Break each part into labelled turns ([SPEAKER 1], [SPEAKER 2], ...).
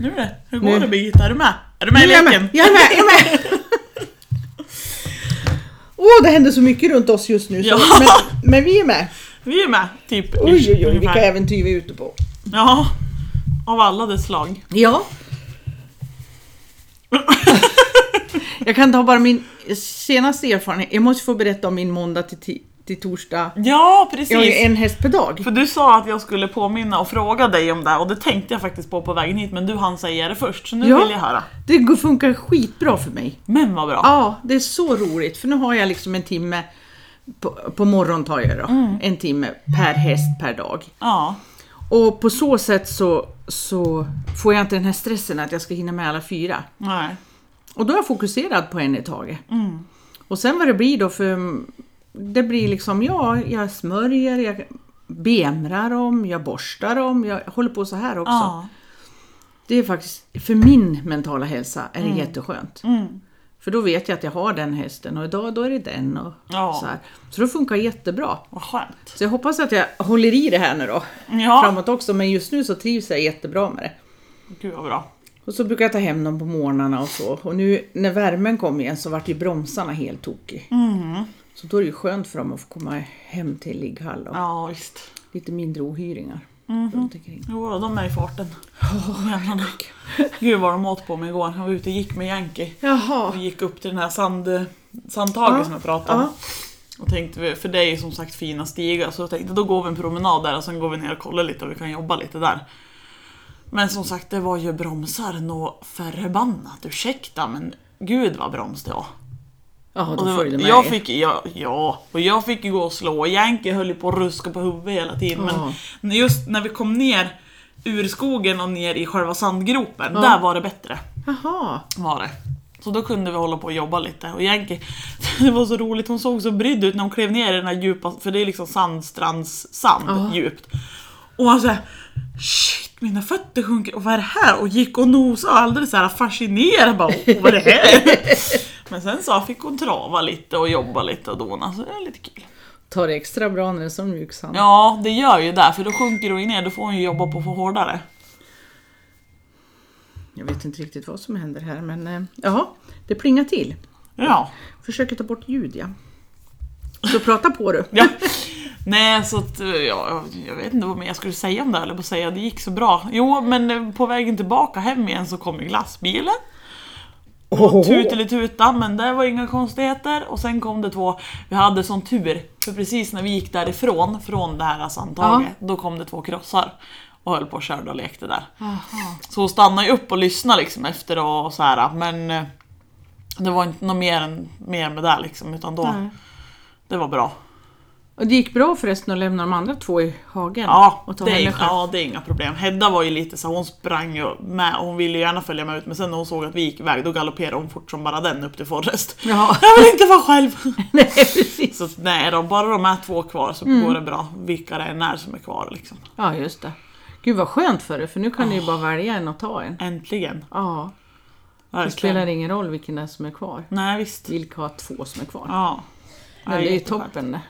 [SPEAKER 1] Nu är det. Hur går
[SPEAKER 2] Nu.
[SPEAKER 1] det Birgitta? Är du med? Är du med
[SPEAKER 2] Nu
[SPEAKER 1] i
[SPEAKER 2] är jag
[SPEAKER 1] leken?
[SPEAKER 2] med, jag är med, jag är med! Åh, det händer så mycket runt oss just nu. Så,
[SPEAKER 1] Ja.
[SPEAKER 2] men, men vi är med.
[SPEAKER 1] Vi är med, typ.
[SPEAKER 2] Oj, oj, oj,
[SPEAKER 1] ungefär.
[SPEAKER 2] vilka äventyr vi är ute på.
[SPEAKER 1] Ja. Av alla dess slag.
[SPEAKER 2] Ja. jag kan ta bara min senaste erfarenhet. Jag måste få berätta om min måndag till, ti- till torsdag.
[SPEAKER 1] Ja, precis.
[SPEAKER 2] Jag har ju en häst per dag.
[SPEAKER 1] För du sa att jag skulle påminna och fråga dig om det här, och det tänkte jag faktiskt på på vägen hit men du hann säga det först så nu
[SPEAKER 2] Ja.
[SPEAKER 1] vill jag höra.
[SPEAKER 2] Det går- funkar skitbra för mig.
[SPEAKER 1] Men vad bra.
[SPEAKER 2] Ja, det är så roligt för nu har jag liksom en timme på, på morgonen tar jag då. En timme per häst per dag.
[SPEAKER 1] Ja.
[SPEAKER 2] Och på så sätt så, så får jag inte den här stressen att jag ska hinna med alla fyra.
[SPEAKER 1] Nej.
[SPEAKER 2] Och då är jag fokuserad på en i taget.
[SPEAKER 1] Mm.
[SPEAKER 2] Och sen vad det blir då för... Det blir liksom, ja, jag smörjer, jag bemrar dem, jag borstar dem, jag håller på så här också.
[SPEAKER 1] Ja.
[SPEAKER 2] Det är faktiskt, för min mentala hälsa är det jätteskönt.
[SPEAKER 1] Mm.
[SPEAKER 2] För då vet jag att jag har den hästen och idag då är det den och
[SPEAKER 1] Ja.
[SPEAKER 2] så här. Så det funkar jättebra.
[SPEAKER 1] Vad skönt.
[SPEAKER 2] Så jag hoppas att jag håller i det här nu då,
[SPEAKER 1] Ja.
[SPEAKER 2] framåt också, men just nu så trivs jag jättebra med det.
[SPEAKER 1] Gud vad bra.
[SPEAKER 2] Och så brukar jag ta hem dem på morgnarna och så. Och nu när värmen kom igen så vart ju bromsarna helt tokiga.
[SPEAKER 1] Mm.
[SPEAKER 2] Så då är det ju skönt för dem att få komma hem till ligghall och
[SPEAKER 1] Ja visst.
[SPEAKER 2] lite mindre ohyringar
[SPEAKER 1] Mm-hmm.
[SPEAKER 2] runt omkring.
[SPEAKER 1] Jo, då, de är i farten. Jävlarna. Gud vad de åt på mig igår. Jag var ute och gick med Yankee.
[SPEAKER 2] Jaha.
[SPEAKER 1] Vi gick upp till den här sand, sandtaget
[SPEAKER 2] Ja,
[SPEAKER 1] som jag pratade om.
[SPEAKER 2] Ja.
[SPEAKER 1] Och tänkte, vi- för det är ju som sagt fina stigar, så jag tänkte då går vi en promenad där och sen går vi ner och kollar lite och vi kan jobba lite där. Men som sagt, det var ju bromsar nå förbannat. Ursäkta, men gud vad broms det var.
[SPEAKER 2] Jaha,
[SPEAKER 1] Och det
[SPEAKER 2] de
[SPEAKER 1] var
[SPEAKER 2] följde med
[SPEAKER 1] jag
[SPEAKER 2] er.
[SPEAKER 1] fick, ja, ja, och jag fick ju gå och slå och Yankee höll ju på att ruska på huvudet hela tiden.
[SPEAKER 2] Ja.
[SPEAKER 1] Men just när vi kom ner ur skogen och ner i själva sandgropen,
[SPEAKER 2] Ja.
[SPEAKER 1] där var det bättre
[SPEAKER 2] Jaha.
[SPEAKER 1] var det. Så då kunde vi hålla på och jobba lite. Och Yankee, det var så roligt, hon såg så brydd ut när hon klev ner i den här djupa, för det är liksom sandstrandssand
[SPEAKER 2] Ja.
[SPEAKER 1] djupt. Och hon såhär, shit mina fötter sjunker, och vad är det här? Och gick och nosade alldeles såhär fascinerad, bara, "Åh, vad är det här? Men sen så fick hon trava lite och jobba lite och dona, så det är lite kul.
[SPEAKER 2] Tar det extra bra när det är sån mjuk sand.
[SPEAKER 1] Ja, det gör ju det, för då sjunker hon ju ner, då får hon ju jobba på för hårdare.
[SPEAKER 2] Jag vet inte riktigt vad som händer här men eh, jaha, det plingar till.
[SPEAKER 1] Ja.
[SPEAKER 2] Försöker ta bort ljud ja. Så prata på du.
[SPEAKER 1] Ja. Nej, så att, eh, ja, jag vet inte vad mer jag skulle säga om det, eller på att säga, det gick så bra. Jo, men eh, på vägen tillbaka hem igen så kom ju glassbilen. Tut eller tuta, men det var inga konstigheter. Och sen kom det två, vi hade sån tur, för precis när vi gick därifrån, från det här sandtaget, då kom det två krossar. Och höll på och körde och lekte där. Så hon stannade ju upp och lyssnade liksom efter och så här, men eh, det var inte något mer, än, mer med det liksom, utan då,
[SPEAKER 2] Nej.
[SPEAKER 1] det var bra.
[SPEAKER 2] Och det gick bra förresten att lämna de andra två i hagen
[SPEAKER 1] Ja,
[SPEAKER 2] Mm. och ta
[SPEAKER 1] det är,
[SPEAKER 2] henne
[SPEAKER 1] inga-
[SPEAKER 2] själv.
[SPEAKER 1] ja, det är inga problem. Hedda var ju lite så här, hon sprang ju med och hon ville ju gärna följa med ut men sen när hon såg att vi gick iväg då galopperade hon fort som bara den upp till Forrest.
[SPEAKER 2] Ja.
[SPEAKER 1] Jag vill inte vara själv!
[SPEAKER 2] Nej, precis.
[SPEAKER 1] Så att, nej, de, bara de är två kvar så
[SPEAKER 2] Mm.
[SPEAKER 1] går det bra vilka det än är som är kvar liksom.
[SPEAKER 2] Ja, just det. Gud vad skönt för dig, för nu kan du ju bara välja en och ta en.
[SPEAKER 1] Äntligen!
[SPEAKER 2] Ja, det spelar
[SPEAKER 1] Verkligen.
[SPEAKER 2] ingen roll vilken det är som är kvar.
[SPEAKER 1] Nej, visst.
[SPEAKER 2] Vilka har två som är kvar?
[SPEAKER 1] Ja.
[SPEAKER 2] Men det är ju
[SPEAKER 1] jätteskönt.
[SPEAKER 2] toppen det.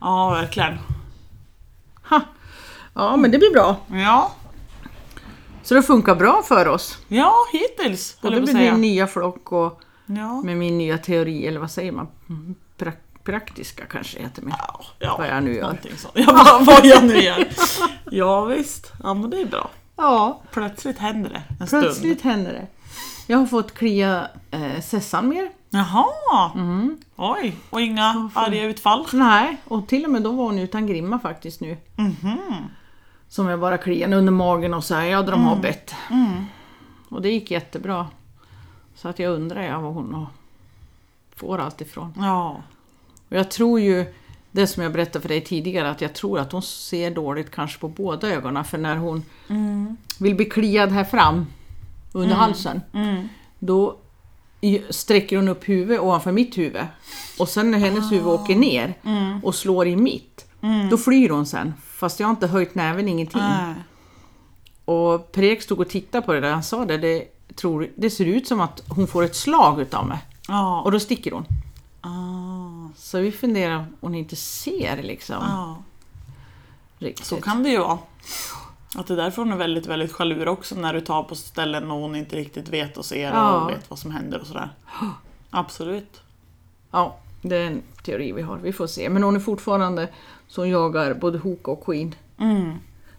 [SPEAKER 1] Ja, verkligen.
[SPEAKER 2] Ha. Ja, men det blir bra.
[SPEAKER 1] Ja,
[SPEAKER 2] Så det funkar bra för oss.
[SPEAKER 1] ja hittills höll
[SPEAKER 2] Både
[SPEAKER 1] jag på
[SPEAKER 2] med
[SPEAKER 1] att säga.
[SPEAKER 2] din nya flock och
[SPEAKER 1] Ja.
[SPEAKER 2] med min nya teori, eller vad säger man? Mm, Prak- praktiska kanske heter mer.
[SPEAKER 1] Ja, ja.
[SPEAKER 2] Vad jag nu gör.
[SPEAKER 1] Någonting sånt. Ja, vad- vad jag nu gör. Ja, visst. Ja, men det är bra.
[SPEAKER 2] Ja,
[SPEAKER 1] Plötsligt händer det en stund.
[SPEAKER 2] plötsligt händer det. Jag har fått klia eh, Sessan mer.
[SPEAKER 1] Jaha! Oj, och inga arga utfall.
[SPEAKER 2] Nej, och till och med då var hon utan grimma faktiskt nu. Som jag bara kliade under magen och så här, ja de har bett. Och det gick jättebra. Så att jag undrar jag vad hon har- får allt ifrån.
[SPEAKER 1] Ja.
[SPEAKER 2] Och jag tror ju, det som jag berättade för dig tidigare, att jag tror att hon ser dåligt kanske på båda ögonen. För när hon
[SPEAKER 1] Mm.
[SPEAKER 2] vill bli kliad här fram, under halsen,
[SPEAKER 1] Mm.
[SPEAKER 2] då i- sträcker hon upp huvudet ovanför mitt huvud. Och sen när hennes huvud åker ner
[SPEAKER 1] Mm.
[SPEAKER 2] och slår i mitt, då flyr hon sen. Fast jag har inte höjt näven, ingenting.
[SPEAKER 1] Nej.
[SPEAKER 2] Och Prek stod och tittade på det där, han sa det, det, tror, det ser ut som att hon får ett slag utav mig.
[SPEAKER 1] Ja.
[SPEAKER 2] Och då sticker hon.
[SPEAKER 1] Ah.
[SPEAKER 2] Så vi funderar om hon inte ser liksom.
[SPEAKER 1] Ja.
[SPEAKER 2] Riktigt.
[SPEAKER 1] Så kan det ju vara. Att det är därför hon är väldigt, väldigt chalur också när du tar på ställen och hon inte riktigt vet och ser
[SPEAKER 2] Ja.
[SPEAKER 1] och vet vad som händer och sådär. Absolut.
[SPEAKER 2] Ja, det är en teori vi har. Vi får se. Men hon är fortfarande som jagar både Hoka och Queen.
[SPEAKER 1] Mm.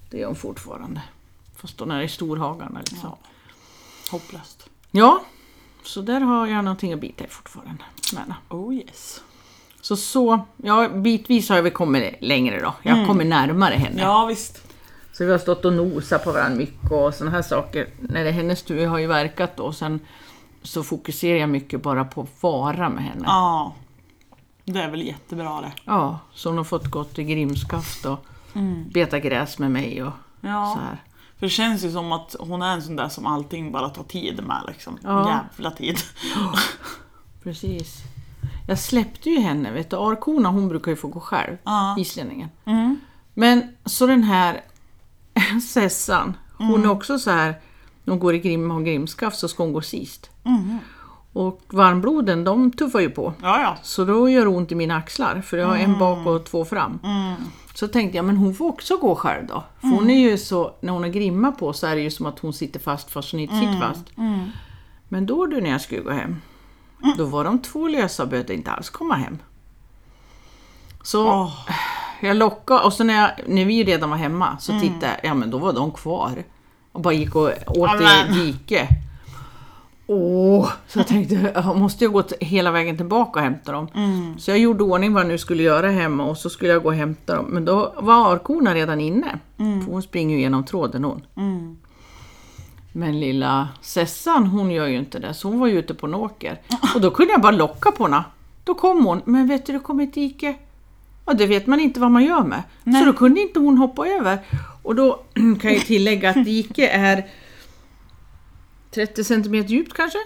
[SPEAKER 2] Det är hon fortfarande. Fast hon är i storhagarna liksom. Ja.
[SPEAKER 1] Ja. Hopplöst.
[SPEAKER 2] så där har jag någonting att bita i fortfarande. Men,
[SPEAKER 1] Oh yes.
[SPEAKER 2] så så, ja bitvis har vi kommit längre då. Jag
[SPEAKER 1] Mm.
[SPEAKER 2] har kommit närmare henne.
[SPEAKER 1] Ja visst.
[SPEAKER 2] Så vi har stått och nosat på varandra mycket och sådana här saker. När det är hennes tur, jag har ju verkat då. Sen så fokuserar jag mycket bara på att vara med henne.
[SPEAKER 1] Ja. Det är väl jättebra det.
[SPEAKER 2] Ja, så hon har fått gå till Grimskaft och beta gräs med mig och
[SPEAKER 1] Ja.
[SPEAKER 2] så här.
[SPEAKER 1] För det känns ju som att hon är en sån där som allting bara tar tid med liksom.
[SPEAKER 2] Ja.
[SPEAKER 1] Jävla tid.
[SPEAKER 2] Precis. Jag släppte ju henne, vet du. Arkona hon brukar ju få gå själv,
[SPEAKER 1] Ja.
[SPEAKER 2] islänningen.
[SPEAKER 1] Mm.
[SPEAKER 2] Men så den här Sessan, hon
[SPEAKER 1] Mm.
[SPEAKER 2] är också så här när hon går i Grim och Grimskaft så ska hon gå sist.
[SPEAKER 1] Mhm.
[SPEAKER 2] Och varmbloden, de tuffar ju på.
[SPEAKER 1] Ja, ja.
[SPEAKER 2] Så då gör det ont i mina axlar, för jag har en bak och två fram. Så tänkte jag, men hon får också gå själv då. För hon är ju så, när hon har grimma på så är det ju som att hon sitter fast fast hon inte sitter fast. Men då du när jag skulle gå hem, då var de två lösa och behövde inte alls komma hem. Så
[SPEAKER 1] Åh.
[SPEAKER 2] jag lockade och så när, jag, när vi redan var hemma så tittade jag, ja men då var de kvar. Och bara gick och åt
[SPEAKER 1] Amen.
[SPEAKER 2] i diket. Åh, så jag tänkte, jag måste jag gå t- hela vägen tillbaka och hämta dem? Så jag gjorde ordning vad jag nu skulle göra hemma och så skulle jag gå och hämta dem. Men då var arkorna redan inne. För hon springer ju genom tråden hon. Men lilla Sessan hon gör ju inte det, så hon var ju ute på en åker. Och då kunde jag bara locka på henne. Då kom hon, men vet du det kom ett dike. Ja, det vet man inte vad man gör med. Så då kunde inte hon hoppa över. Och då kan jag ju tillägga att dike är 30 cm djupt kanske?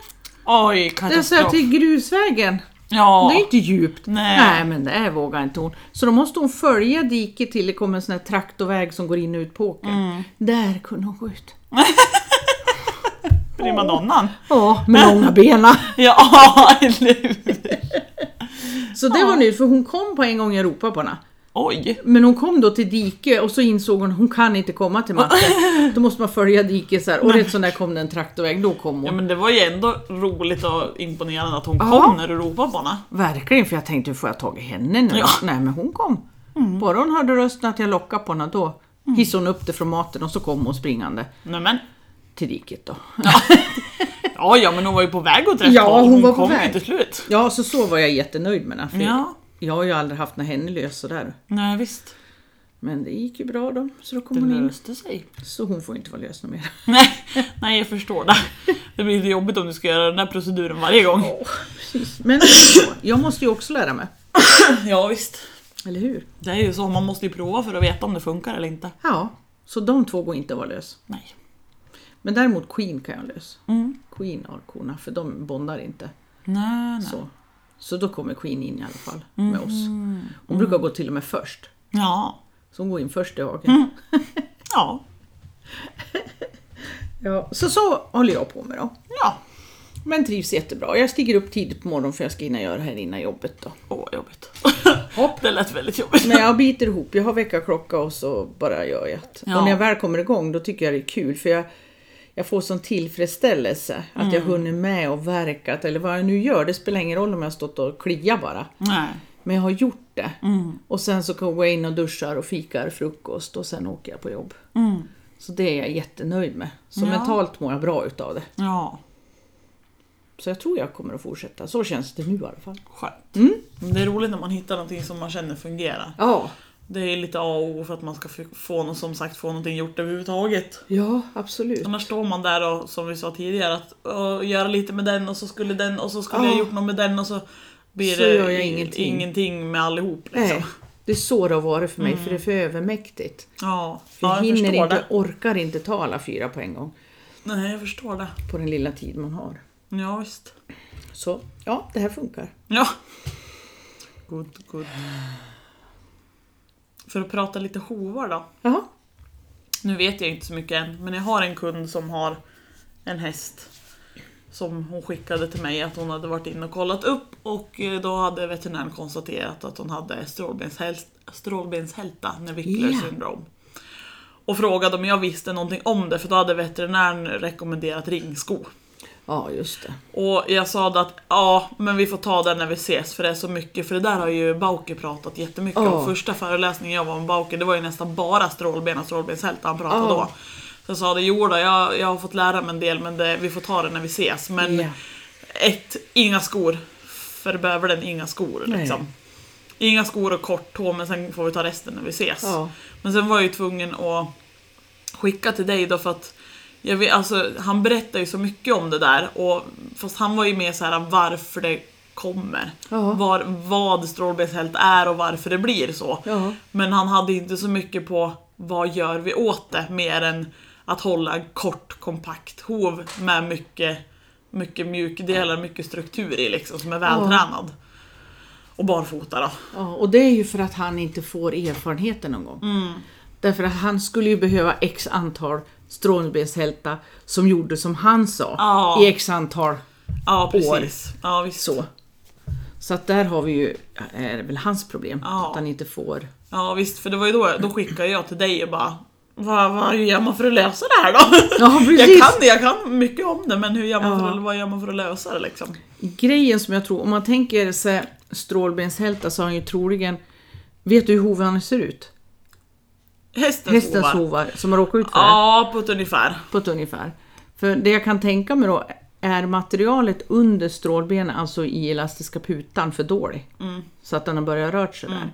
[SPEAKER 1] Oj,
[SPEAKER 2] Det sa jag
[SPEAKER 1] katastrof.
[SPEAKER 2] till grusvägen.
[SPEAKER 1] Ja.
[SPEAKER 2] Det är inte djupt.
[SPEAKER 1] Nej.
[SPEAKER 2] men det är vågar inte hon. Så då måste hon följa diket till det kommer en sån här traktorväg som går in och ut på åkern. Där kunde hon gå ut.
[SPEAKER 1] Primadonnan.
[SPEAKER 2] Ja, med långa bena.
[SPEAKER 1] Ja, eller hur?
[SPEAKER 2] Så det var nytt, för hon kom på en gång jag ropade på henne.
[SPEAKER 1] Oj.
[SPEAKER 2] Men hon kom då till dike och så insåg hon att hon kan inte komma till matten. Då måste man följa diket så här. Och rätt som där kom det en traktorväg, då kom
[SPEAKER 1] Ja
[SPEAKER 2] hon.
[SPEAKER 1] men det var ju ändå roligt och imponerande att hon
[SPEAKER 2] Ja.
[SPEAKER 1] kom när du ropade på henne.
[SPEAKER 2] Verkligen, för jag tänkte hur får jag tag i henne nu?
[SPEAKER 1] Ja.
[SPEAKER 2] Nej men hon kom. Bara hon hörde rösten att jag lockade på henne, då hissade hon upp det från maten och så kom hon springande
[SPEAKER 1] Nej men.
[SPEAKER 2] till diket då.
[SPEAKER 1] Ja, ja men hon var ju på väg åt rätt
[SPEAKER 2] Ja,
[SPEAKER 1] håll.
[SPEAKER 2] hon var på
[SPEAKER 1] kom ju
[SPEAKER 2] väg. Mm.
[SPEAKER 1] till slut.
[SPEAKER 2] Ja, så så var jag jättenöjd med henne. För
[SPEAKER 1] Ja.
[SPEAKER 2] Jag har ju aldrig haft någon henne lös sådär.
[SPEAKER 1] Nej visst. Men
[SPEAKER 2] Men det gick ju bra då, så då kom
[SPEAKER 1] det
[SPEAKER 2] hon in.
[SPEAKER 1] löste sig.
[SPEAKER 2] Så hon får inte vara lös någon mer.
[SPEAKER 1] Nej, nej jag förstår det. Det blir lite jobbigt om du ska göra den där proceduren varje gång.
[SPEAKER 2] Precis. Men så, jag måste ju också lära mig,
[SPEAKER 1] Ja visst.
[SPEAKER 2] eller hur?
[SPEAKER 1] Det är ju så, man måste ju prova för att veta om det funkar eller inte.
[SPEAKER 2] Ja, så de två går inte att vara lös.
[SPEAKER 1] Nej.
[SPEAKER 2] Men däremot Queen kan jag lös.
[SPEAKER 1] Mm.
[SPEAKER 2] Queen har korna, för de bondar inte.
[SPEAKER 1] Nej, nej.
[SPEAKER 2] Så. så då kommer Queen in i alla fall med oss.
[SPEAKER 1] Mm.
[SPEAKER 2] Hon brukar gå till och med först.
[SPEAKER 1] Ja.
[SPEAKER 2] Så hon går in först i hagen.
[SPEAKER 1] Mm. Ja.
[SPEAKER 2] Ja. Så så håller jag på med då.
[SPEAKER 1] Ja.
[SPEAKER 2] Men trivs jättebra. Jag stiger upp tidigt på morgonen för jag ska hinna göra det här innan jobbet då.
[SPEAKER 1] Åh vad jobbigt.
[SPEAKER 2] Hopp.
[SPEAKER 1] Det lät väldigt jobbigt.
[SPEAKER 2] Men jag biter ihop, jag har väckarklocka och så bara gör jag det.
[SPEAKER 1] Ja.
[SPEAKER 2] Och när jag väl kommer igång då tycker jag det är kul för jag, jag får sån tillfredsställelse att jag hunnit med och verkat eller vad jag nu gör. Det spelar ingen roll om jag har stått och kliat bara.
[SPEAKER 1] Nej.
[SPEAKER 2] Men jag har gjort det. Och sen så går jag in och duschar och fikar frukost och sen åker jag på jobb.
[SPEAKER 1] Mm.
[SPEAKER 2] Så det är jag jättenöjd med. Så
[SPEAKER 1] Ja.
[SPEAKER 2] mentalt mår jag bra utav det.
[SPEAKER 1] Ja.
[SPEAKER 2] Så jag tror jag kommer att fortsätta. Så känns det nu i alla fall.
[SPEAKER 1] Skönt.
[SPEAKER 2] Mm.
[SPEAKER 1] Det är roligt när man hittar någonting som man känner fungerar.
[SPEAKER 2] Ja,
[SPEAKER 1] Det är lite A och O för att man ska f- få, någon, som sagt, få någonting gjort överhuvudtaget.
[SPEAKER 2] ja absolut.
[SPEAKER 1] Annars står man där och som vi sa tidigare att "Åh, göra lite med den och så skulle den och så skulle jag
[SPEAKER 2] Ja.
[SPEAKER 1] gjort något med den och så blir
[SPEAKER 2] Ah. Så
[SPEAKER 1] det
[SPEAKER 2] gör jag
[SPEAKER 1] i-
[SPEAKER 2] ingenting.
[SPEAKER 1] ingenting med allihop. Liksom.
[SPEAKER 2] Nej, det är Mm. så det har varit för mig för det är för övermäktigt.
[SPEAKER 1] Ja,
[SPEAKER 2] För
[SPEAKER 1] ja,
[SPEAKER 2] jag
[SPEAKER 1] jag
[SPEAKER 2] hinner
[SPEAKER 1] förstår
[SPEAKER 2] inte,
[SPEAKER 1] det.
[SPEAKER 2] orkar inte ta alla fyra på en gång
[SPEAKER 1] Nej, jag förstår det.
[SPEAKER 2] på den lilla tid man har.
[SPEAKER 1] Ja, visst.
[SPEAKER 2] Så ja, det här funkar.
[SPEAKER 1] Ja. Good, good. För att prata lite hovar då.
[SPEAKER 2] Jaha.
[SPEAKER 1] Nu vet jag inte så mycket än, men jag har en kund som har en häst som hon skickade till mig att hon hade varit inne och kollat upp och eh, då hade veterinären konstaterat att hon hade strålbenshäl- strålbenshälta, Nervicular
[SPEAKER 2] Ja.
[SPEAKER 1] syndrom. Och frågade om jag visste någonting om det för då hade veterinären rekommenderat ringsko.
[SPEAKER 2] Ja, just det.
[SPEAKER 1] Och jag sa då att ja, men vi får ta den när vi ses för det är så mycket. För det där har ju Bauke pratat jättemycket
[SPEAKER 2] Ja.
[SPEAKER 1] om. Första föreläsningen jag var med Bauke, det var ju nästan bara strålben och strålbenshälta han pratade
[SPEAKER 2] Ja.
[SPEAKER 1] då. Så jag sa det, jo då, jag, jag har fått lära mig en del men det, vi får ta det när vi ses. Men
[SPEAKER 2] Ja.
[SPEAKER 1] ett, inga skor. För bövelen, inga skor
[SPEAKER 2] Nej.
[SPEAKER 1] liksom. Inga skor och kort tå men sen får vi ta resten när vi ses.
[SPEAKER 2] Ja.
[SPEAKER 1] Men sen var jag ju tvungen att skicka till dig då för att jag vet, alltså, han berättar ju så mycket om det där och fast han var ju mer så här varför det kommer.
[SPEAKER 2] Ja.
[SPEAKER 1] Var, vad strålbenshält är och varför det blir så.
[SPEAKER 2] Ja.
[SPEAKER 1] Men han hade inte så mycket på vad gör vi åt det mer än att hålla en kort kompakt hov med mycket, mycket mjukdelar, mycket struktur i liksom som är vältränad. Och barfota då.
[SPEAKER 2] Ja, och det är ju för att han inte får erfarenheten någon gång.
[SPEAKER 1] Mm.
[SPEAKER 2] Därför att han skulle ju behöva x antal strålbenshälta som gjorde som han sa
[SPEAKER 1] Ja.
[SPEAKER 2] i x antal
[SPEAKER 1] Ja
[SPEAKER 2] År.
[SPEAKER 1] precis. Ja, visst.
[SPEAKER 2] så. Så att där har vi ju, är det väl hans problem,
[SPEAKER 1] Ja.
[SPEAKER 2] att han inte får.
[SPEAKER 1] Ja visst, för det var ju då, då skickade jag till dig och bara vad, vad gör man för att lösa det här då?
[SPEAKER 2] Ja,
[SPEAKER 1] jag,
[SPEAKER 2] precis.
[SPEAKER 1] kan, jag kan mycket om det men hur gör man
[SPEAKER 2] Ja.
[SPEAKER 1] för, att- vad gör man för att lösa det liksom?
[SPEAKER 2] Grejen som jag tror, om man tänker sig strålbenshälta så har han ju troligen, vet du hur hovarna ser ut?
[SPEAKER 1] Hästens,
[SPEAKER 2] Hästens
[SPEAKER 1] hovar.
[SPEAKER 2] hovar som har råkat ut för det.
[SPEAKER 1] Ja, på ett ungefär.
[SPEAKER 2] på ett ungefär. För det jag kan tänka mig då är materialet under strålbenen, alltså i elastiska putan, för dålig.
[SPEAKER 1] Mm.
[SPEAKER 2] Så att den har börjat röra sig där.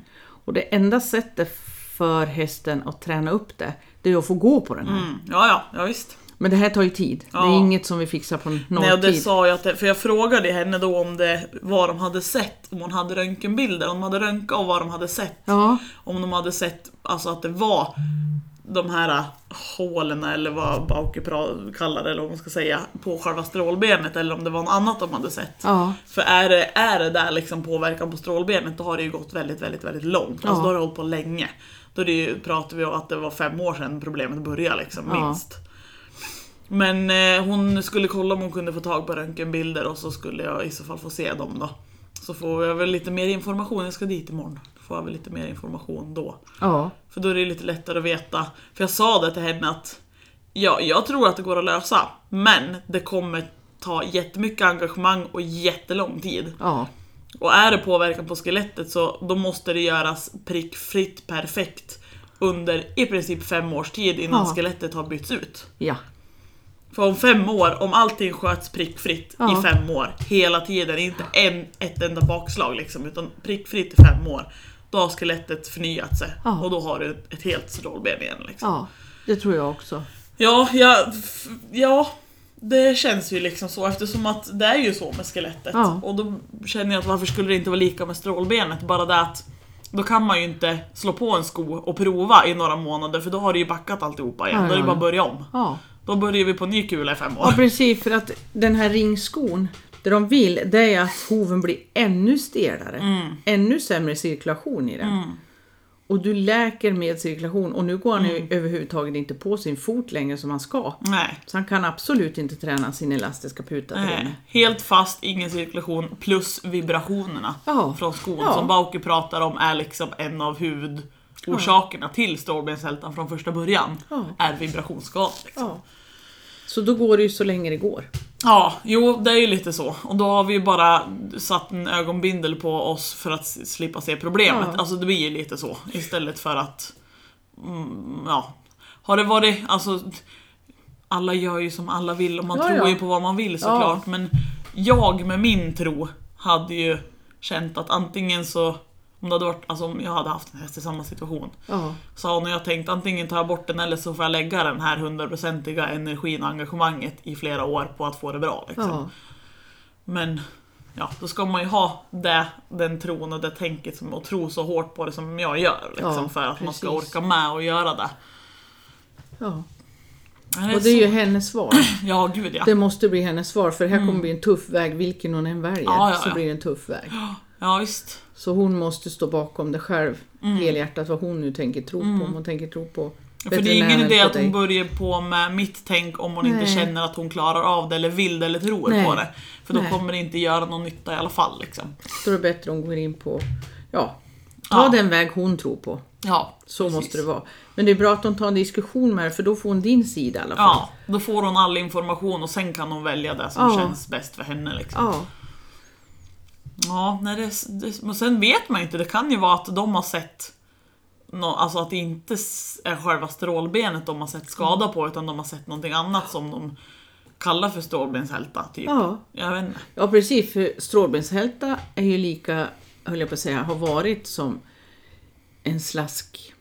[SPEAKER 2] Och det enda sättet för hästen att träna upp det, det är att få gå på den här.
[SPEAKER 1] Mm. Ja, ja, ja visst.
[SPEAKER 2] Men det här tar ju tid. Det är
[SPEAKER 1] Ja.
[SPEAKER 2] inget som vi fixar på
[SPEAKER 1] Nej, och det
[SPEAKER 2] nolltid.
[SPEAKER 1] sa jag att det, för jag frågade henne då om det, vad de hade sett, om hon hade röntgenbilder, om de hade röntgat och vad de hade sett.
[SPEAKER 2] Ja,
[SPEAKER 1] Om de hade sett alltså att det var de här äh, hålen eller vad Bauke pra- kallar det eller vad man ska säga på själva strålbenet eller om det var något annat de hade sett.
[SPEAKER 2] ja,
[SPEAKER 1] För är det, är det där liksom påverkan på strålbenet då har det ju gått väldigt, väldigt, väldigt långt.
[SPEAKER 2] Ja.
[SPEAKER 1] Alltså då har det hållit på länge. Då är det ju, pratar vi om att det var fem år sedan problemet började liksom,
[SPEAKER 2] Ja.
[SPEAKER 1] minst. Men eh, hon skulle kolla om hon kunde få tag på röntgenbilder och så skulle jag i så fall få se dem då. Så får jag väl lite mer information, jag ska dit imorgon. Då får jag väl lite mer information då.
[SPEAKER 2] ja.
[SPEAKER 1] För då är det lite lättare att veta. För jag sa det till henne att ja, jag tror att det går att lösa. Men det kommer ta jättemycket engagemang och jättelång tid.
[SPEAKER 2] ja.
[SPEAKER 1] Och är det påverkan på skelettet så då måste det göras prickfritt perfekt under i princip fem års tid innan
[SPEAKER 2] Ja.
[SPEAKER 1] skelettet har bytts ut.
[SPEAKER 2] ja.
[SPEAKER 1] För om fem år, om allting sköts prickfritt
[SPEAKER 2] Ja.
[SPEAKER 1] i fem år, hela tiden, inte en, ett enda bakslag liksom, utan prickfritt i fem år, då har skelettet förnyat sig
[SPEAKER 2] Ja.
[SPEAKER 1] och då har du ett, ett helt strålben igen. Liksom.
[SPEAKER 2] ja. Det tror jag också.
[SPEAKER 1] Ja, ja, f- ja, det känns ju liksom så eftersom att det är ju så med skelettet.
[SPEAKER 2] Ja.
[SPEAKER 1] Och då känner jag att varför skulle det inte vara lika med strålbenet? Bara det att då kan man ju inte slå på en sko och prova i några månader för då har det ju backat alltihopa igen.
[SPEAKER 2] Ja,
[SPEAKER 1] Då är det
[SPEAKER 2] ja,
[SPEAKER 1] bara
[SPEAKER 2] ja.
[SPEAKER 1] att börja om.
[SPEAKER 2] Ja.
[SPEAKER 1] Då börjar vi på ny kula i fem år.
[SPEAKER 2] Ja precis, för att den här ringskon, det de vill det är att hoven blir ännu stelare. Ännu sämre cirkulation i den. Och du läker med cirkulation och nu går han ju överhuvudtaget inte på sin fot längre som han ska.
[SPEAKER 1] Nej.
[SPEAKER 2] Så han kan absolut inte träna sin elastiska puta till
[SPEAKER 1] Nej,
[SPEAKER 2] det.
[SPEAKER 1] helt fast, ingen cirkulation, plus vibrationerna
[SPEAKER 2] Ja.
[SPEAKER 1] från skon
[SPEAKER 2] Ja.
[SPEAKER 1] som Bauke pratar om är liksom en av huvudorsakerna till strålbenshältan från första början.
[SPEAKER 2] Ja.
[SPEAKER 1] Är vibrationsskada. Liksom.
[SPEAKER 2] Ja. Så då går det ju så länge det går.
[SPEAKER 1] Ja, jo det är ju lite så. Och då har vi ju bara satt en ögonbindel på oss för att s- slippa se problemet.
[SPEAKER 2] Ja.
[SPEAKER 1] Alltså det blir ju lite så. Istället för att... Mm, ja. Har det varit... Alltså... Alla gör ju som alla vill och man
[SPEAKER 2] Ja,
[SPEAKER 1] tror
[SPEAKER 2] ja.
[SPEAKER 1] ju på vad man vill såklart. Men jag med min tro hade ju känt att antingen så... Om, det hade varit, alltså om jag hade haft en häst i samma situation
[SPEAKER 2] Ja.
[SPEAKER 1] Sa hon och jag tänkte antingen tar jag bort den eller så får jag lägga den här hundraprocentiga energin och engagemanget i flera år på att få det bra. Liksom.
[SPEAKER 2] Ja.
[SPEAKER 1] Men ja, då ska man ju ha det, den tron och det tänket som, och tro så hårt på det som jag gör. Liksom,
[SPEAKER 2] Ja,
[SPEAKER 1] för att man ska
[SPEAKER 2] precis.
[SPEAKER 1] orka med och göra det.
[SPEAKER 2] ja.
[SPEAKER 1] Men
[SPEAKER 2] Och det är ju
[SPEAKER 1] så-
[SPEAKER 2] hennes svar.
[SPEAKER 1] Ja, gud ja.
[SPEAKER 2] Det måste bli hennes svar för det här kommer bli en tuff väg vilken hon än väljer.
[SPEAKER 1] Ja, ja,
[SPEAKER 2] Så
[SPEAKER 1] ja.
[SPEAKER 2] blir det en tuff väg.
[SPEAKER 1] Ja, visst.
[SPEAKER 2] Så hon måste stå bakom det själv, helhjärtat, vad hon nu tänker tro på. Om hon tänker tro på
[SPEAKER 1] Mm. För det är ingen
[SPEAKER 2] veterinären,
[SPEAKER 1] idé
[SPEAKER 2] på
[SPEAKER 1] att hon
[SPEAKER 2] dig.
[SPEAKER 1] börjar på med mitt tänk om hon
[SPEAKER 2] Nej.
[SPEAKER 1] inte känner att hon klarar av det eller vill det eller tror
[SPEAKER 2] Nej.
[SPEAKER 1] på det. För då
[SPEAKER 2] Nej.
[SPEAKER 1] kommer det inte göra någon nytta i alla fall. Liksom.
[SPEAKER 2] Då är det bättre om hon går in på, ja, Ta
[SPEAKER 1] Ja.
[SPEAKER 2] den väg hon tror på.
[SPEAKER 1] Ja,
[SPEAKER 2] Så
[SPEAKER 1] precis.
[SPEAKER 2] måste det vara. Men det är bra att de tar en diskussion med dig för då får hon din sida i alla fall.
[SPEAKER 1] Ja, då får hon all information och sen kan hon välja det som
[SPEAKER 2] Ja.
[SPEAKER 1] känns bäst för henne. Liksom.
[SPEAKER 2] Ja.
[SPEAKER 1] Ja, nej, det, det, och sen vet man ju inte, det kan ju vara att de har sett nå- Alltså att det inte s- är själva strålbenet de har sett skada på utan de har sett någonting annat som de kallar för strålbenshälta. Typ.
[SPEAKER 2] Ja.
[SPEAKER 1] Jag vet inte.
[SPEAKER 2] ja, precis. För strålbenshälta är ju lika, höll jag på att säga, har varit som en slask.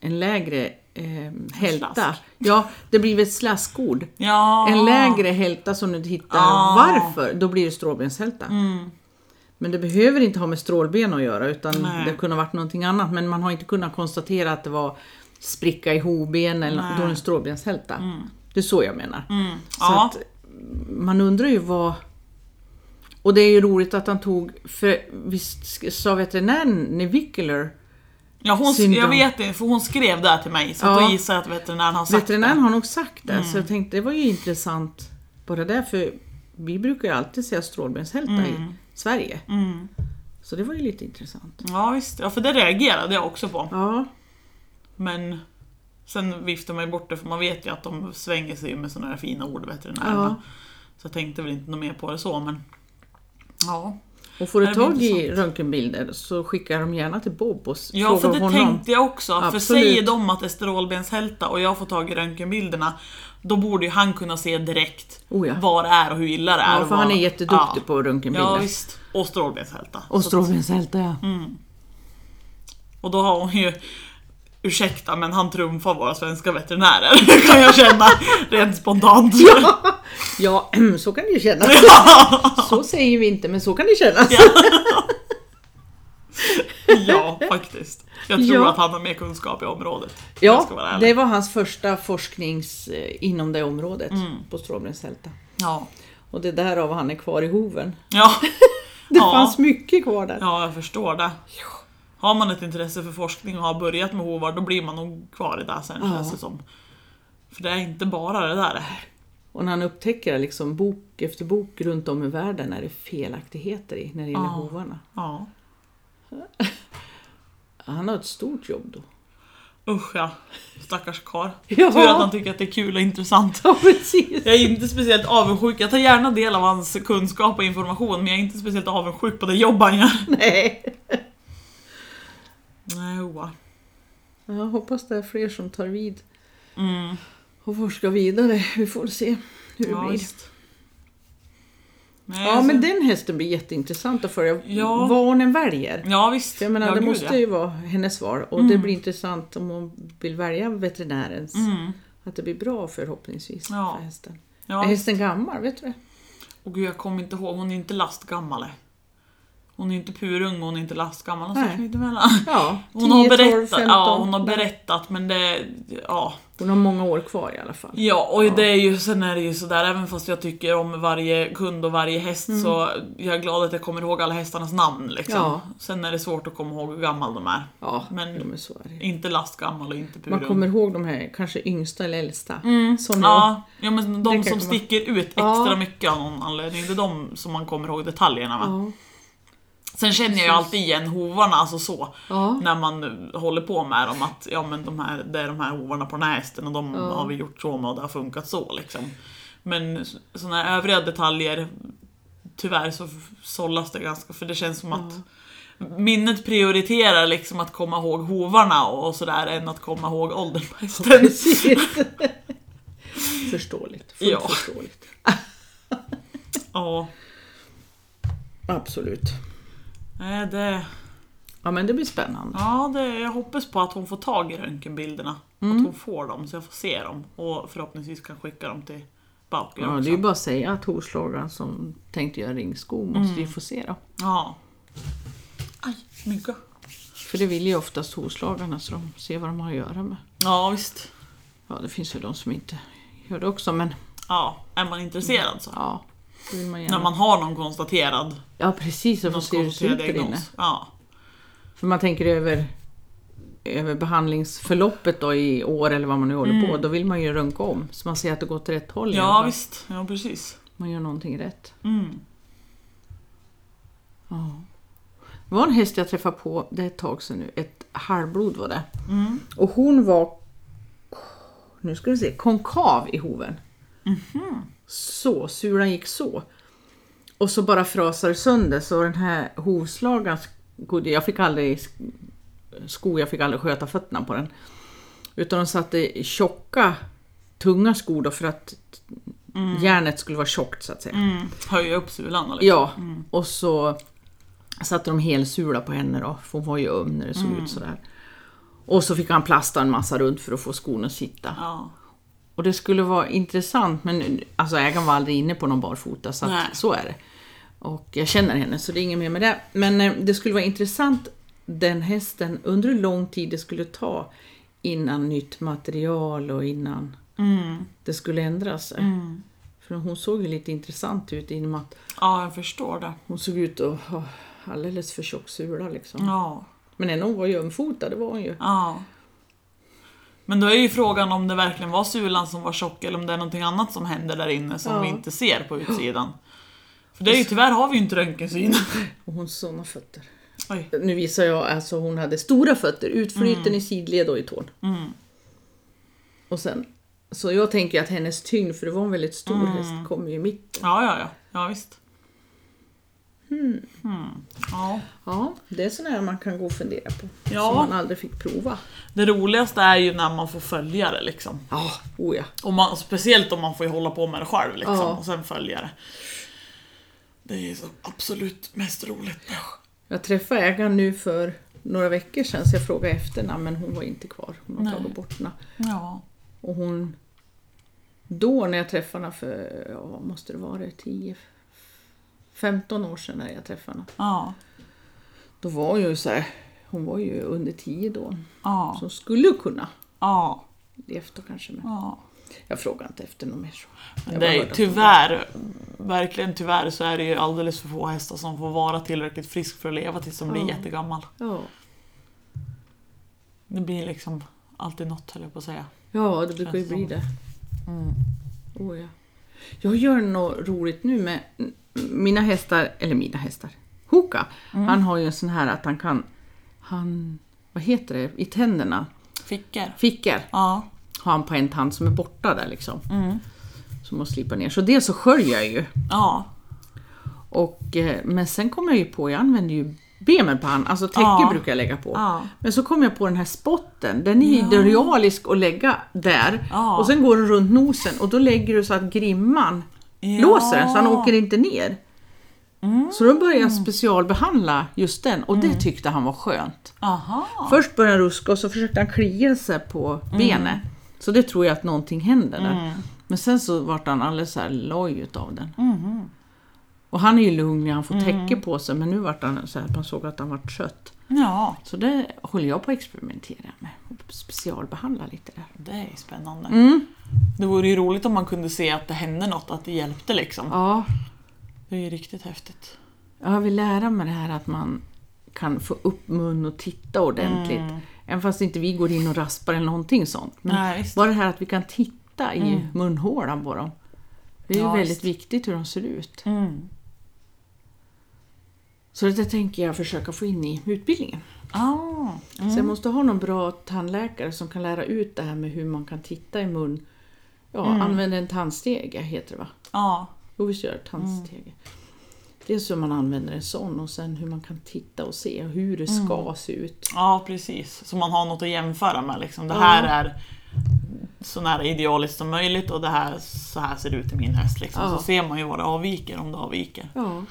[SPEAKER 2] En lägre eh, hälta.
[SPEAKER 1] slask.
[SPEAKER 2] Ja, det blir ett slaskord.
[SPEAKER 1] Ja.
[SPEAKER 2] En lägre hälta som du inte hittar
[SPEAKER 1] Ah. Mm.
[SPEAKER 2] varför, då blir det strålbenshälta. Men det behöver inte ha med strålben att göra utan
[SPEAKER 1] Nej.
[SPEAKER 2] det kunde ha varit någonting annat. Men man har inte kunnat konstatera att det var spricka i hoben eller
[SPEAKER 1] Nej.
[SPEAKER 2] då är det en strålbenshälta. Det är så jag menar.
[SPEAKER 1] Mm.
[SPEAKER 2] Så
[SPEAKER 1] Ja.
[SPEAKER 2] att man undrar ju vad... Och det är ju roligt att han tog, för visst sa veterinären Nivicular
[SPEAKER 1] Ja, hon, sk- jag
[SPEAKER 2] syndrom.
[SPEAKER 1] vet det, för hon skrev det här till mig så att
[SPEAKER 2] Ja.
[SPEAKER 1] då gissar jag att veterinären har sagt Mm.
[SPEAKER 2] Veterinären har nog sagt det, så jag tänkte det var ju intressant bara där, för vi brukar ju alltid säga strålbenshälta i Sverige.
[SPEAKER 1] det. Mm.
[SPEAKER 2] Så det var ju lite intressant.
[SPEAKER 1] Ja, visst. Ja, för det reagerade jag också på.
[SPEAKER 2] Ja,
[SPEAKER 1] Men sen viftar man ju bort det för man vet ju att de svänger sig med sådana här fina ord veterinärerna.
[SPEAKER 2] ja.
[SPEAKER 1] Så jag tänkte väl inte något mer på det så men Ja,
[SPEAKER 2] Och får
[SPEAKER 1] Det
[SPEAKER 2] du
[SPEAKER 1] blir
[SPEAKER 2] tag i röntgenbilder så skickar de gärna till Bob och s-
[SPEAKER 1] ja för
[SPEAKER 2] frågar
[SPEAKER 1] det
[SPEAKER 2] honom.
[SPEAKER 1] tänkte jag också. För
[SPEAKER 2] Absolut.
[SPEAKER 1] säger de att det är strålbenshälta och jag får tag i röntgenbilderna Då borde ju han kunna se direkt
[SPEAKER 2] Oh ja.
[SPEAKER 1] vad det är och hur illa det är.
[SPEAKER 2] Ja,
[SPEAKER 1] och
[SPEAKER 2] för
[SPEAKER 1] vad-
[SPEAKER 2] han är jätteduktig
[SPEAKER 1] ja.
[SPEAKER 2] på röntgenbilder.
[SPEAKER 1] Ja visst. Mm. Och strålbenshälta.
[SPEAKER 2] och
[SPEAKER 1] Så-
[SPEAKER 2] strålbenshälta ja.
[SPEAKER 1] Och då har hon ju Ursäkta men han trumfar våra svenska veterinärer kan jag känna rent spontant.
[SPEAKER 2] Ja, så kan det ju kännas. Så säger vi inte, men så kan det kännas.
[SPEAKER 1] Ja, faktiskt. Jag tror
[SPEAKER 2] Ja.
[SPEAKER 1] att han har mer kunskap i området. om jag ska vara
[SPEAKER 2] Ja,
[SPEAKER 1] ärlig.
[SPEAKER 2] det var hans första forsknings eh, inom det området
[SPEAKER 1] Mm.
[SPEAKER 2] på strålbenshälta.
[SPEAKER 1] Ja.
[SPEAKER 2] Och det är därav han är kvar i hoven.
[SPEAKER 1] Ja.
[SPEAKER 2] Det
[SPEAKER 1] Ja.
[SPEAKER 2] fanns mycket kvar där.
[SPEAKER 1] ja, jag förstår det. Har man ett intresse för forskning och har börjat med hovar, då blir man nog kvar i det sen
[SPEAKER 2] Ja.
[SPEAKER 1] känns det som. För det är inte bara det där.
[SPEAKER 2] Och när han upptäcker liksom bok efter bok runt om i världen är det felaktigheter i när det gäller
[SPEAKER 1] Ja.
[SPEAKER 2] hovarna.
[SPEAKER 1] Ja.
[SPEAKER 2] Han har ett stort jobb då.
[SPEAKER 1] Usch ja. Stackars karl.
[SPEAKER 2] Ja.
[SPEAKER 1] Tur att han tycker att det är kul och intressant.
[SPEAKER 2] Ja, precis.
[SPEAKER 1] Jag är inte speciellt avundsjuk. Jag tar gärna del av hans kunskap och information, men jag är inte speciellt avundsjuk på det jobb han gör.
[SPEAKER 2] Nej.
[SPEAKER 1] Nej, Hoa.
[SPEAKER 2] Jag hoppas det är fler som tar vid
[SPEAKER 1] Mm.
[SPEAKER 2] och forskar vidare. Vi får se hur det
[SPEAKER 1] Ja,
[SPEAKER 2] blir.
[SPEAKER 1] visst. Nej,
[SPEAKER 2] Ja,
[SPEAKER 1] alltså-
[SPEAKER 2] men den hästen blir jätteintressant att följa.
[SPEAKER 1] Ja.
[SPEAKER 2] Vad hon än väljer.
[SPEAKER 1] Ja visst.
[SPEAKER 2] För Jag menar,
[SPEAKER 1] ja,
[SPEAKER 2] det
[SPEAKER 1] gud,
[SPEAKER 2] måste
[SPEAKER 1] ja.
[SPEAKER 2] ju vara hennes val och det blir intressant om hon vill välja veterinärens.
[SPEAKER 1] Mm.
[SPEAKER 2] Att det blir bra förhoppningsvis
[SPEAKER 1] Ja.
[SPEAKER 2] för hästen.
[SPEAKER 1] Ja.
[SPEAKER 2] Är hästen gammal? Vet du det?
[SPEAKER 1] Och gud, jag kommer inte ihåg. Hon är inte lastgammal. eh. Hon är inte purung och hon är inte lastgammal. Hon,
[SPEAKER 2] Nej.
[SPEAKER 1] sitter mitt emellan.
[SPEAKER 2] Ja,
[SPEAKER 1] hon har
[SPEAKER 2] 10, 12,
[SPEAKER 1] berättat.
[SPEAKER 2] 15.
[SPEAKER 1] ja, hon har berättat men det... Ja.
[SPEAKER 2] Hon har många år kvar i alla fall.
[SPEAKER 1] Ja, och det är ju, sen är det ju sådär, även fast jag tycker om varje kund och varje häst så jag är glad att jag kommer ihåg alla hästarnas namn. Liksom.
[SPEAKER 2] Mm. Ja.
[SPEAKER 1] Sen är det svårt att komma ihåg hur gammal de är.
[SPEAKER 2] Ja,
[SPEAKER 1] Men-
[SPEAKER 2] jo, men så är det.
[SPEAKER 1] Inte lastgammal och inte purung.
[SPEAKER 2] Man kommer ihåg de här kanske yngsta eller äldsta.
[SPEAKER 1] Mm.
[SPEAKER 2] Som jag.
[SPEAKER 1] Ja, ja men
[SPEAKER 2] Det
[SPEAKER 1] de
[SPEAKER 2] kan
[SPEAKER 1] som
[SPEAKER 2] komma.
[SPEAKER 1] sticker ut extra
[SPEAKER 2] Ja.
[SPEAKER 1] mycket av någon anledning, det är de som man kommer ihåg detaljerna med.
[SPEAKER 2] Ja.
[SPEAKER 1] Sen känner jag ju alltid igen hovarna, alltså så.
[SPEAKER 2] Ja.
[SPEAKER 1] När man håller på med dem, att ja men de här, det är de här hovarna på den här hästen och de
[SPEAKER 2] Ja.
[SPEAKER 1] har vi gjort så med och det har funkat så liksom. Men sådana här övriga detaljer, tyvärr så f- sållas det ganska, för det känns som att Minnet prioriterar liksom att komma ihåg hovarna och sådär än att komma ihåg åldern på hästen.
[SPEAKER 2] Precis. förståeligt. Fullt
[SPEAKER 1] Ja.
[SPEAKER 2] förståeligt.
[SPEAKER 1] Ja,
[SPEAKER 2] Absolut.
[SPEAKER 1] nej, det...
[SPEAKER 2] Ja, men det blir spännande.
[SPEAKER 1] Ja, det, jag hoppas på att hon får tag i röntgenbilderna.
[SPEAKER 2] Mm.
[SPEAKER 1] Att hon får dem så jag får se dem och förhoppningsvis kan skicka dem till Bauke
[SPEAKER 2] Ja, det
[SPEAKER 1] också.
[SPEAKER 2] är ju bara att säga att hovslagaren som tänkte göra ringsko
[SPEAKER 1] Mm.
[SPEAKER 2] måste ju få se då.
[SPEAKER 1] Ja. Aj, mygga.
[SPEAKER 2] För det vill ju oftast hovslagarna så de ser vad de har att göra med.
[SPEAKER 1] Ja, visst.
[SPEAKER 2] Ja, det finns ju de som inte gör det också, men
[SPEAKER 1] Ja, är man intresserad så.
[SPEAKER 2] ja. Då vill man
[SPEAKER 1] När
[SPEAKER 2] gärna.
[SPEAKER 1] man har någon konstaterad,
[SPEAKER 2] Ja, precis. Och få
[SPEAKER 1] någon
[SPEAKER 2] se hur det ser
[SPEAKER 1] konstaterad
[SPEAKER 2] ut där inne.
[SPEAKER 1] diagnos. Ja.
[SPEAKER 2] För man tänker över, över behandlingsförloppet då i år eller vad man nu håller på. Då vill man ju röntga om så man ser att det går åt rätt håll. i alla
[SPEAKER 1] Mm. ja,
[SPEAKER 2] fall.
[SPEAKER 1] visst. Ja, precis.
[SPEAKER 2] Man gör någonting rätt.
[SPEAKER 1] Mm.
[SPEAKER 2] Ja. Det var en häst jag träffade på, det är ett tag sedan nu, ett halvblod var det.
[SPEAKER 1] Mm.
[SPEAKER 2] Och hon var, nu ska vi se, konkav i hoven. Så, sulan gick så. Och så bara frasade det sönder så den här hovslagaren, godde- jag fick aldrig sk- sko, jag fick aldrig sköta fötterna på den. Utan de satte i tjocka, tunga skor då för att järnet skulle vara tjockt så att säga.
[SPEAKER 1] Mm. Höja upp sulan liksom.
[SPEAKER 2] Ja, och så satte de helsula på henne då, för hon var ju öm när det
[SPEAKER 1] Mm.
[SPEAKER 2] såg ut sådär. Och så fick han plasta en massa runt för att få skon att sitta.
[SPEAKER 1] Ja.
[SPEAKER 2] Och det skulle vara intressant, men alltså ägaren var aldrig inne på någon barfota, så
[SPEAKER 1] Nej.
[SPEAKER 2] att, så är det. Och jag känner henne, så det är inget mer med det. Men eh, det skulle vara intressant, den hästen, under hur lång tid det skulle ta innan nytt material och innan
[SPEAKER 1] Mm.
[SPEAKER 2] det skulle ändras.
[SPEAKER 1] Mm.
[SPEAKER 2] För hon såg ju lite intressant ut i och med att
[SPEAKER 1] ja, jag förstår det.
[SPEAKER 2] hon såg ut att ha alldeles för tjock sula liksom.
[SPEAKER 1] Ja.
[SPEAKER 2] Men ändå hon var ju ömfotad, det var hon ju.
[SPEAKER 1] ja. Men då är ju frågan om det verkligen var sulan som var tjock eller om det är någonting annat som händer där inne som
[SPEAKER 2] Ja.
[SPEAKER 1] vi inte ser på utsidan. För det är ju, tyvärr har vi ju inte röntgensyn.
[SPEAKER 2] Och hon sådana fötter.
[SPEAKER 1] Oj.
[SPEAKER 2] Nu visar jag, alltså hon hade stora fötter, utflyten i sidled och i tån.
[SPEAKER 1] Mm.
[SPEAKER 2] Och sen, så jag tänker att hennes tyngd, för det var en väldigt stor
[SPEAKER 1] Mm.
[SPEAKER 2] häst, kommer ju i mitten.
[SPEAKER 1] Ja, ja, ja. Ja, visst. Hmm. Ja.
[SPEAKER 2] Ja, det är sådana här man kan gå och fundera på.
[SPEAKER 1] Ja.
[SPEAKER 2] Som man aldrig fick prova.
[SPEAKER 1] Det roligaste är ju när man får följa det liksom.
[SPEAKER 2] Ja, oh ja.
[SPEAKER 1] Och man, speciellt om man får ju hålla på med det själv liksom,
[SPEAKER 2] Ja.
[SPEAKER 1] och sen följa det. Det är ju så absolut mest roligt.
[SPEAKER 2] Jag träffade ägaren nu för några veckor sedan, så jag frågade efter henne, men hon var inte kvar. Hon har
[SPEAKER 1] Nej.
[SPEAKER 2] tagit bort henne.
[SPEAKER 1] Ja.
[SPEAKER 2] Och hon... Då när jag träffade henne för, ja, vad måste det vara, 10... 15 år sedan när jag träffade henne.
[SPEAKER 1] Ja.
[SPEAKER 2] Då var hon ju så här, hon var ju under 10 då.
[SPEAKER 1] Ja.
[SPEAKER 2] Så hon skulle kunna
[SPEAKER 1] Ja.
[SPEAKER 2] levt då kanske. Men
[SPEAKER 1] ja.
[SPEAKER 2] jag frågar inte efter något mer. så. Jag bara
[SPEAKER 1] Det är,
[SPEAKER 2] hörde
[SPEAKER 1] ju-
[SPEAKER 2] att-
[SPEAKER 1] tyvärr, verkligen tyvärr så är det ju alldeles för få hästar som får vara tillräckligt frisk för att leva tills de blir
[SPEAKER 2] Ja.
[SPEAKER 1] jättegammal.
[SPEAKER 2] Ja.
[SPEAKER 1] Det blir liksom alltid något höll jag på att säga.
[SPEAKER 2] ja, det brukar
[SPEAKER 1] Känns
[SPEAKER 2] ju bli
[SPEAKER 1] som.
[SPEAKER 2] det.
[SPEAKER 1] Mm.
[SPEAKER 2] Oh, ja. Jag gör något roligt nu med mina hästar, eller mina hästar, Hoka.
[SPEAKER 1] Mm.
[SPEAKER 2] Han har ju en sån här att han kan, han, vad heter det, i tänderna,
[SPEAKER 1] Fickor.
[SPEAKER 2] fickor.
[SPEAKER 1] Ja.
[SPEAKER 2] har han på en tand som är borta där liksom.
[SPEAKER 1] Mm.
[SPEAKER 2] Som måste slipa ner. Så det så sköljer jag ju.
[SPEAKER 1] Ja.
[SPEAKER 2] Och, eh, men sen kom jag ju på, jag använder ju bemen på han, alltså täcke
[SPEAKER 1] Ja.
[SPEAKER 2] brukar jag lägga på.
[SPEAKER 1] Ja.
[SPEAKER 2] Men så kom jag på den här spotten, den är idealisk att lägga där.
[SPEAKER 1] Ja.
[SPEAKER 2] Och sen går den runt nosen och då lägger du så att grimman
[SPEAKER 1] Ja. Mm.
[SPEAKER 2] låser den så han åker inte ner. Så då började jag specialbehandla just den och det tyckte han var skönt.
[SPEAKER 1] Aha.
[SPEAKER 2] Först började han ruska och så försökte han klia sig på benet. Så det tror jag att någonting händer där. Men sen så vart han alldeles så här loj utav den. Och han är ju lugn när han får täcke på sig men nu vart han så här, man såg att han vart trött.
[SPEAKER 1] Ja.
[SPEAKER 2] Så det håller jag på att experimentera med. och Specialbehandla lite där.
[SPEAKER 1] Det är ju spännande. Det vore ju roligt om man kunde se att det hände något, att det hjälpte liksom.
[SPEAKER 2] Ja,
[SPEAKER 1] Det är ju riktigt häftigt.
[SPEAKER 2] jag vill lära mig det här att man kan få upp mun och titta ordentligt. Även fast inte vi går in och raspar eller någonting sånt. Men
[SPEAKER 1] Nej, visst.
[SPEAKER 2] bara det här att vi kan titta i munhålan på dem. Det är ju
[SPEAKER 1] Mm. Ja,
[SPEAKER 2] väldigt
[SPEAKER 1] visst.
[SPEAKER 2] viktigt hur de ser ut.
[SPEAKER 1] Mm.
[SPEAKER 2] Så det tänker jag försöka få in i utbildningen.
[SPEAKER 1] Ah.
[SPEAKER 2] Så jag måste ha någon bra tandläkare som kan lära ut det här med hur man kan titta i mun. Ja,
[SPEAKER 1] Mm.
[SPEAKER 2] använda en tandstege heter det va?
[SPEAKER 1] Ja.
[SPEAKER 2] Jo, visst gör det. Tandstege.
[SPEAKER 1] Mm.
[SPEAKER 2] Dels hur man använder en sån och sen hur man kan titta och se hur det ska
[SPEAKER 1] Mm.
[SPEAKER 2] se ut.
[SPEAKER 1] ja, precis. Så man har något att jämföra med. Liksom. Det här
[SPEAKER 2] Ja.
[SPEAKER 1] är så nära idealiskt som möjligt och det här, så här ser det ut i min häst. Liksom.
[SPEAKER 2] Ja.
[SPEAKER 1] Så ser man ju vad det avviker, om det avviker.
[SPEAKER 2] Ja.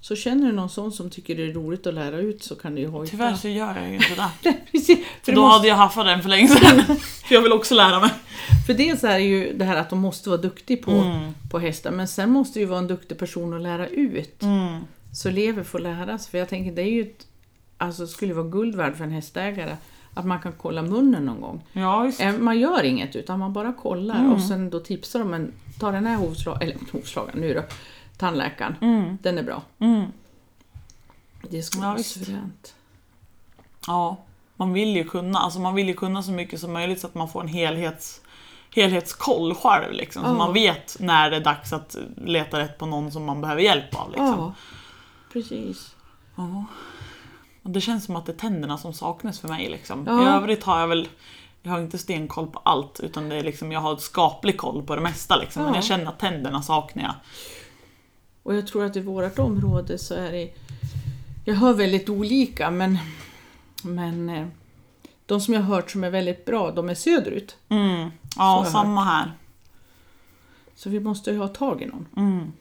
[SPEAKER 2] Så känner du någon sån som tycker det är roligt att lära ut så kan du ju hojta.
[SPEAKER 1] Tyvärr så gör jag ju inte det.
[SPEAKER 2] Precis, för,
[SPEAKER 1] För
[SPEAKER 2] det
[SPEAKER 1] då
[SPEAKER 2] måste,
[SPEAKER 1] hade jag haffat den för länge sedan. För jag vill också lära mig.
[SPEAKER 2] för dels är det ju det här att de måste vara duktiga på,
[SPEAKER 1] Mm.
[SPEAKER 2] på hästar men sen måste ju vara en duktig person att lära ut.
[SPEAKER 1] Mm.
[SPEAKER 2] Så elever får läras. För jag tänker det är ju ett, alltså skulle vara guld värd för en hästägare att man kan kolla munnen någon gång.
[SPEAKER 1] Ja, visst.
[SPEAKER 2] Eh, Man gör inget utan man bara kollar och
[SPEAKER 1] Mm.
[SPEAKER 2] sen då tipsar de en, ta den här hovslag, eller hovslagaren nu då, tandläkaren,
[SPEAKER 1] Mm.
[SPEAKER 2] den är bra.
[SPEAKER 1] Mm.
[SPEAKER 2] Det skulle
[SPEAKER 1] Ja,
[SPEAKER 2] vara
[SPEAKER 1] visst.
[SPEAKER 2] suveränt.
[SPEAKER 1] Ja, man vill ju kunna, alltså man vill ju kunna så mycket som möjligt så att man får en helhets, helhetskoll själv. Liksom. Så
[SPEAKER 2] Ja.
[SPEAKER 1] man vet när det är dags att leta rätt på någon som man behöver hjälp av. Liksom.
[SPEAKER 2] Ja, liksom. precis.
[SPEAKER 1] Ja. Och Det känns som att det är tänderna som saknas för mig liksom.
[SPEAKER 2] Ja.
[SPEAKER 1] I övrigt har jag väl jag har inte stenkoll på allt utan det är liksom, jag har skaplig koll på det mesta liksom. Men
[SPEAKER 2] Ja.
[SPEAKER 1] jag känner att tänderna saknar jag.
[SPEAKER 2] Och jag tror att i vårt område så är det... Jag hör väldigt olika men... Men... eh, De som jag har hört som är väldigt bra, de är söderut.
[SPEAKER 1] Mm.
[SPEAKER 2] har
[SPEAKER 1] Ja,
[SPEAKER 2] jag
[SPEAKER 1] samma här.
[SPEAKER 2] Så vi måste ju ha tag i någon.
[SPEAKER 1] Mm.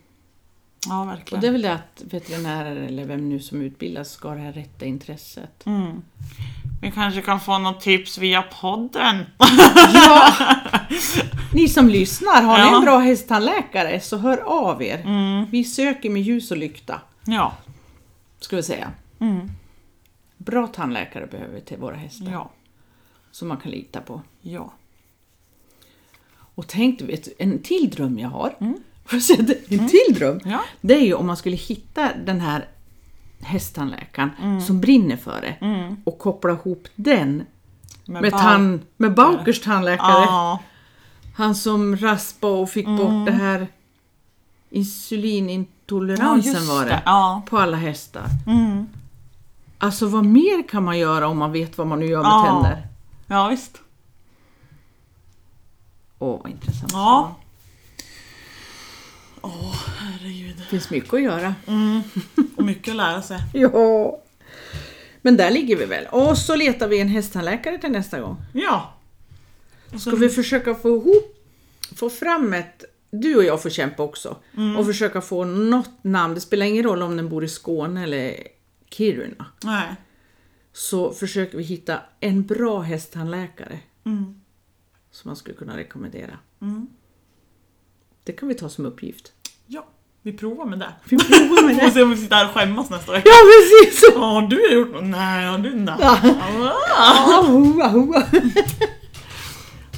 [SPEAKER 1] Ja,
[SPEAKER 2] Och det är
[SPEAKER 1] verkligen.
[SPEAKER 2] väl det att veterinärer eller vem nu som utbildas ska ha det här rätta intresset.
[SPEAKER 1] Mm. Vi kanske kan få något tips via podden.
[SPEAKER 2] Ja! Ni som lyssnar, har ni
[SPEAKER 1] Ja.
[SPEAKER 2] en bra hästtandläkare så hör av er. Vi söker med ljus och lykta,
[SPEAKER 1] Ja.
[SPEAKER 2] ska vi säga.
[SPEAKER 1] Mm.
[SPEAKER 2] Bra tandläkare behöver vi till våra hästar,
[SPEAKER 1] Ja.
[SPEAKER 2] som man kan lita på.
[SPEAKER 1] Ja.
[SPEAKER 2] Och tänk, du vet, en till dröm jag har.
[SPEAKER 1] Mm.
[SPEAKER 2] Får jag säga det? En till dröm?
[SPEAKER 1] Ja.
[SPEAKER 2] Det är ju om man skulle hitta den här hästtandläkaren
[SPEAKER 1] Mm.
[SPEAKER 2] som brinner för det och koppla ihop den Mm. med,
[SPEAKER 1] Bauer.
[SPEAKER 2] tan- med Baukers tandläkare.
[SPEAKER 1] Ja. Mm.
[SPEAKER 2] Han som raspade och fick bort det här
[SPEAKER 1] ja,
[SPEAKER 2] insulinintoleransen
[SPEAKER 1] just
[SPEAKER 2] var
[SPEAKER 1] det.
[SPEAKER 2] det.
[SPEAKER 1] Ja.
[SPEAKER 2] På alla hästar.
[SPEAKER 1] Mm.
[SPEAKER 2] Alltså vad mer kan man göra om man vet vad man nu gör med
[SPEAKER 1] Ja.
[SPEAKER 2] tänder?
[SPEAKER 1] ja, visst.
[SPEAKER 2] Åh, vad intressant.
[SPEAKER 1] Ja. Åh, herregud.
[SPEAKER 2] Det finns mycket att göra.
[SPEAKER 1] Och mycket att lära sig.
[SPEAKER 2] Ja. Men där ligger vi väl. Och så letar vi en hästtandläkare till nästa gång.
[SPEAKER 1] Ja.
[SPEAKER 2] Ska vi försöka få ihop, få fram ett, du och jag får kämpa också, och försöka få något namn, det spelar ingen roll om den bor i Skåne eller Kiruna,
[SPEAKER 1] Nej.
[SPEAKER 2] så försöker vi hitta en bra hästtandläkare Mm. som man skulle kunna rekommendera. Det kan vi ta som uppgift.
[SPEAKER 1] Ja, vi provar med det.
[SPEAKER 2] Vi provar med
[SPEAKER 1] Får
[SPEAKER 2] det.
[SPEAKER 1] se om vi sitter här och skämmas nästa vecka.
[SPEAKER 2] Ja precis!
[SPEAKER 1] Ja, har du gjort något? Nej, har du inte?
[SPEAKER 2] Ah, hoa, hoa.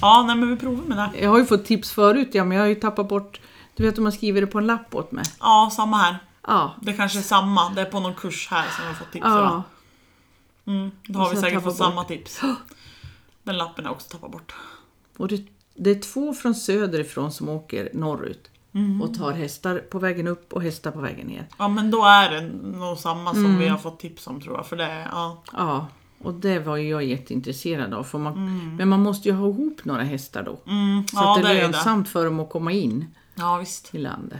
[SPEAKER 1] Ja, nej men vi provar med det.
[SPEAKER 2] Jag har ju fått tips förut, ja, men jag har ju tappat bort, du vet om man skriver det på en lapp åt mig.
[SPEAKER 1] Ja, samma här.
[SPEAKER 2] Ja.
[SPEAKER 1] Det kanske är samma. Det är på någon kurs här som vi har fått tips
[SPEAKER 2] ja.
[SPEAKER 1] av. Mm, då har
[SPEAKER 2] Och
[SPEAKER 1] vi
[SPEAKER 2] så
[SPEAKER 1] säkert
[SPEAKER 2] tappa
[SPEAKER 1] fått
[SPEAKER 2] bort.
[SPEAKER 1] samma tips. Den lappen har jag också tappat bort.
[SPEAKER 2] Och det, det är två från söderifrån som åker norrut och tar hästar på vägen upp och hästar på vägen ner.
[SPEAKER 1] Ja, men då är det nog samma som
[SPEAKER 2] Mm.
[SPEAKER 1] vi har fått tips om tror jag. För det är, ja.
[SPEAKER 2] Ja, och det var ju jag jätteintresserad av. För man, Men man måste ju ha ihop några hästar då.
[SPEAKER 1] Mm,
[SPEAKER 2] Så
[SPEAKER 1] ja,
[SPEAKER 2] att det är
[SPEAKER 1] ju det.
[SPEAKER 2] lönsamt för dem att komma in
[SPEAKER 1] Ja, visst.
[SPEAKER 2] i landet.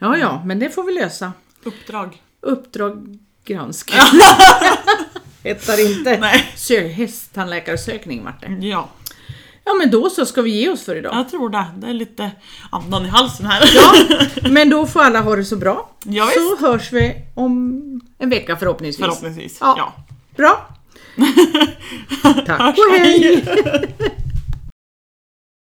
[SPEAKER 2] Ja, ja, men det får vi lösa.
[SPEAKER 1] Uppdrag.
[SPEAKER 2] Uppdrag granska. Hettar inte.
[SPEAKER 1] Nej.
[SPEAKER 2] Sö, hästtandläkarsökning vart det.
[SPEAKER 1] Ja,
[SPEAKER 2] Ja, men då så ska vi ge oss för idag.
[SPEAKER 1] jag tror det. Det är lite andan i halsen här.
[SPEAKER 2] Men då får alla ha det så bra.
[SPEAKER 1] Ja,
[SPEAKER 2] så hörs vi om en vecka förhoppningsvis.
[SPEAKER 1] Förhoppningsvis.
[SPEAKER 2] Ja.
[SPEAKER 1] ja.
[SPEAKER 2] Bra! Tack
[SPEAKER 1] Hörs,
[SPEAKER 2] och hej!
[SPEAKER 1] hej.